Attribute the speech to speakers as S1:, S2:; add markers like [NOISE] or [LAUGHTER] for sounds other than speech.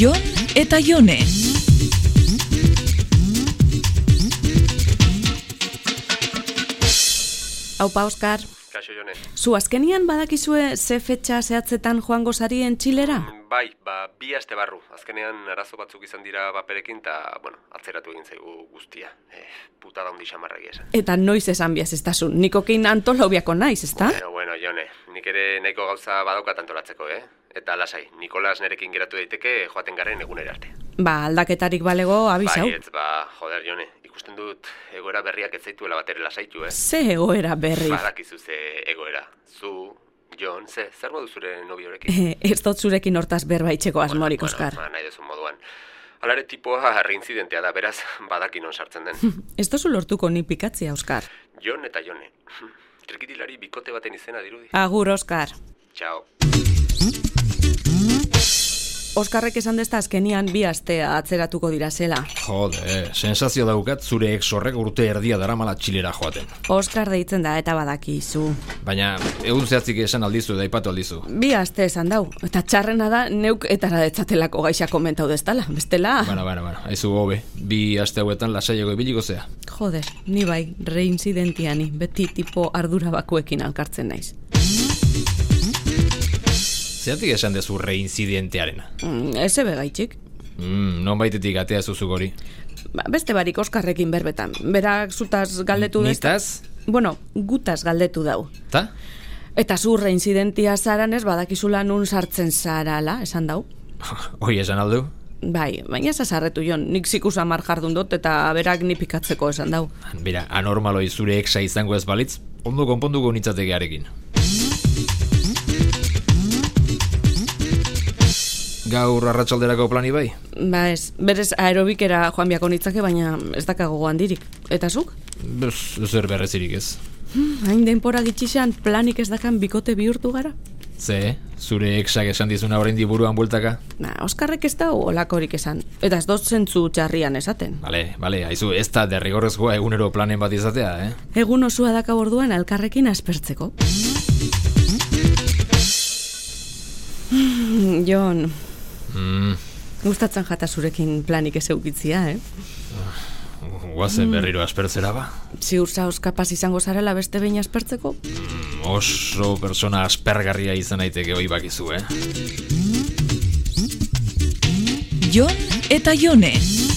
S1: Jon eta Jone.
S2: Aupa, Oskar,
S3: Kaixo jone.
S2: zu azkenian badakizue ze fetxa zehatzetan joango zarien txilera?
S3: Mm, Bai, ba, bi aste barru. Azkenean arazo batzuk izan dira baperekin eta, bueno, atzeratu egin zaigu guztia. Eh, puta da hundi xamarragi esan.
S2: Eta noiz esan biaz ez dazu, nikokin antolaubiako naiz, ezta?
S3: Bueno, bueno, jone, nik ere nahiko gauza badaukat antolatzeko, eh? Eta lasai, Nikolas nerekin geratu daiteke joaten garen egunera arte.
S2: Ba, aldaketarik balego abisau.
S3: Bai, ez, ba, joder, jone, ikusten dut egoera berriak ez zaituela bat ere lasaitu, eh?
S2: Ze egoera berri.
S3: Badakizu ze egoera. Zu, Jon, ze, zer modu zure nobiorekin?
S2: Eh, [LAUGHS] ez dut zurekin hortaz berbaitzeko asmorik, Oskar.
S3: Bueno, ba, nahi duzun moduan. Alare tipoa reintzidentea da, beraz, [LAUGHS] badaki non sartzen den.
S2: [LAUGHS] Ez dozu lortuko ni pikatzia, Oskar.
S3: Jon eta Jone. [LAUGHS] Trikitilari bikote baten izena dirudi.
S2: Agur, Oskar.
S3: Txao.
S2: Oskarrek esan dezta azkenian bi aste atzeratuko dira zela.
S4: Jode, sensazio daukat zure ex horrek urte erdia daramala txilera joaten.
S2: Oskar deitzen da eta badakizu.
S4: Baina, egun zehatzik esan aldizu eta aipatu aldizu.
S2: Bi aste esan dau, eta txarrena da neuk etara detzatelako gaixa komentau destala, bestela...
S4: Bueno, bueno, bueno, aizu hobe. Bi aste hauetan lasaiago ibiliko zea.
S2: Joder, ni bai, reincidentiani, beti tipo ardura bakuekin alkartzen naiz.
S4: Zeatik esan dezu reinzidentearena.
S2: Mm, Eze begaitxik.
S4: Mm, non baitetik atea zuzuk hori.
S2: Ba, beste barik Oskarrekin berbetan, berak zutaz galdetu dez...
S4: Nitaz?
S2: Bueno, gutaz galdetu dau.
S4: Ta?
S2: Eta zu reinzidentia zaran ez badakizula nun sartzen zarala, esan dau.
S4: Hoi esan aldu?
S2: Bai, baina ez azarretu jon, nik zikus amar jardun dut eta berak ni pikatzeko esan dau.
S4: Bira, anormaloi zure exa izango ez balitz, ondo konponduko nitzategearekin. Gaur arratsalderako plani bai?
S2: Ba ez, berez aerobikera joan biako nitzake, baina ez dakago handirik. Eta zuk?
S4: Bez, zer berrezirik ez.
S2: Hmm, hain denpora gitxixan planik ez dakan bikote bihurtu gara?
S4: Ze, zure exak esan dizuna oraindik buruan bueltaka?
S2: Na, Oskarrek ez da olakorik esan. Eta ez dut zentzu txarrian esaten.
S4: Bale, bale, haizu ez da derrigorrezkoa egunero planen bat izatea, eh?
S2: Egun osua daka orduan alkarrekin aspertzeko. Hmm, Jon,
S4: Mm,
S2: gustatzen jata zurekin planik ez eukitzia, eh?
S4: guazen berriro aspertzera ba.
S2: Ziur zaoz kapaz izango zarela beste behin aspertzeko?
S4: Mm, Oso persona aspergarria izan daiteke hoi bakizu, eh?
S1: Jon eta Jone.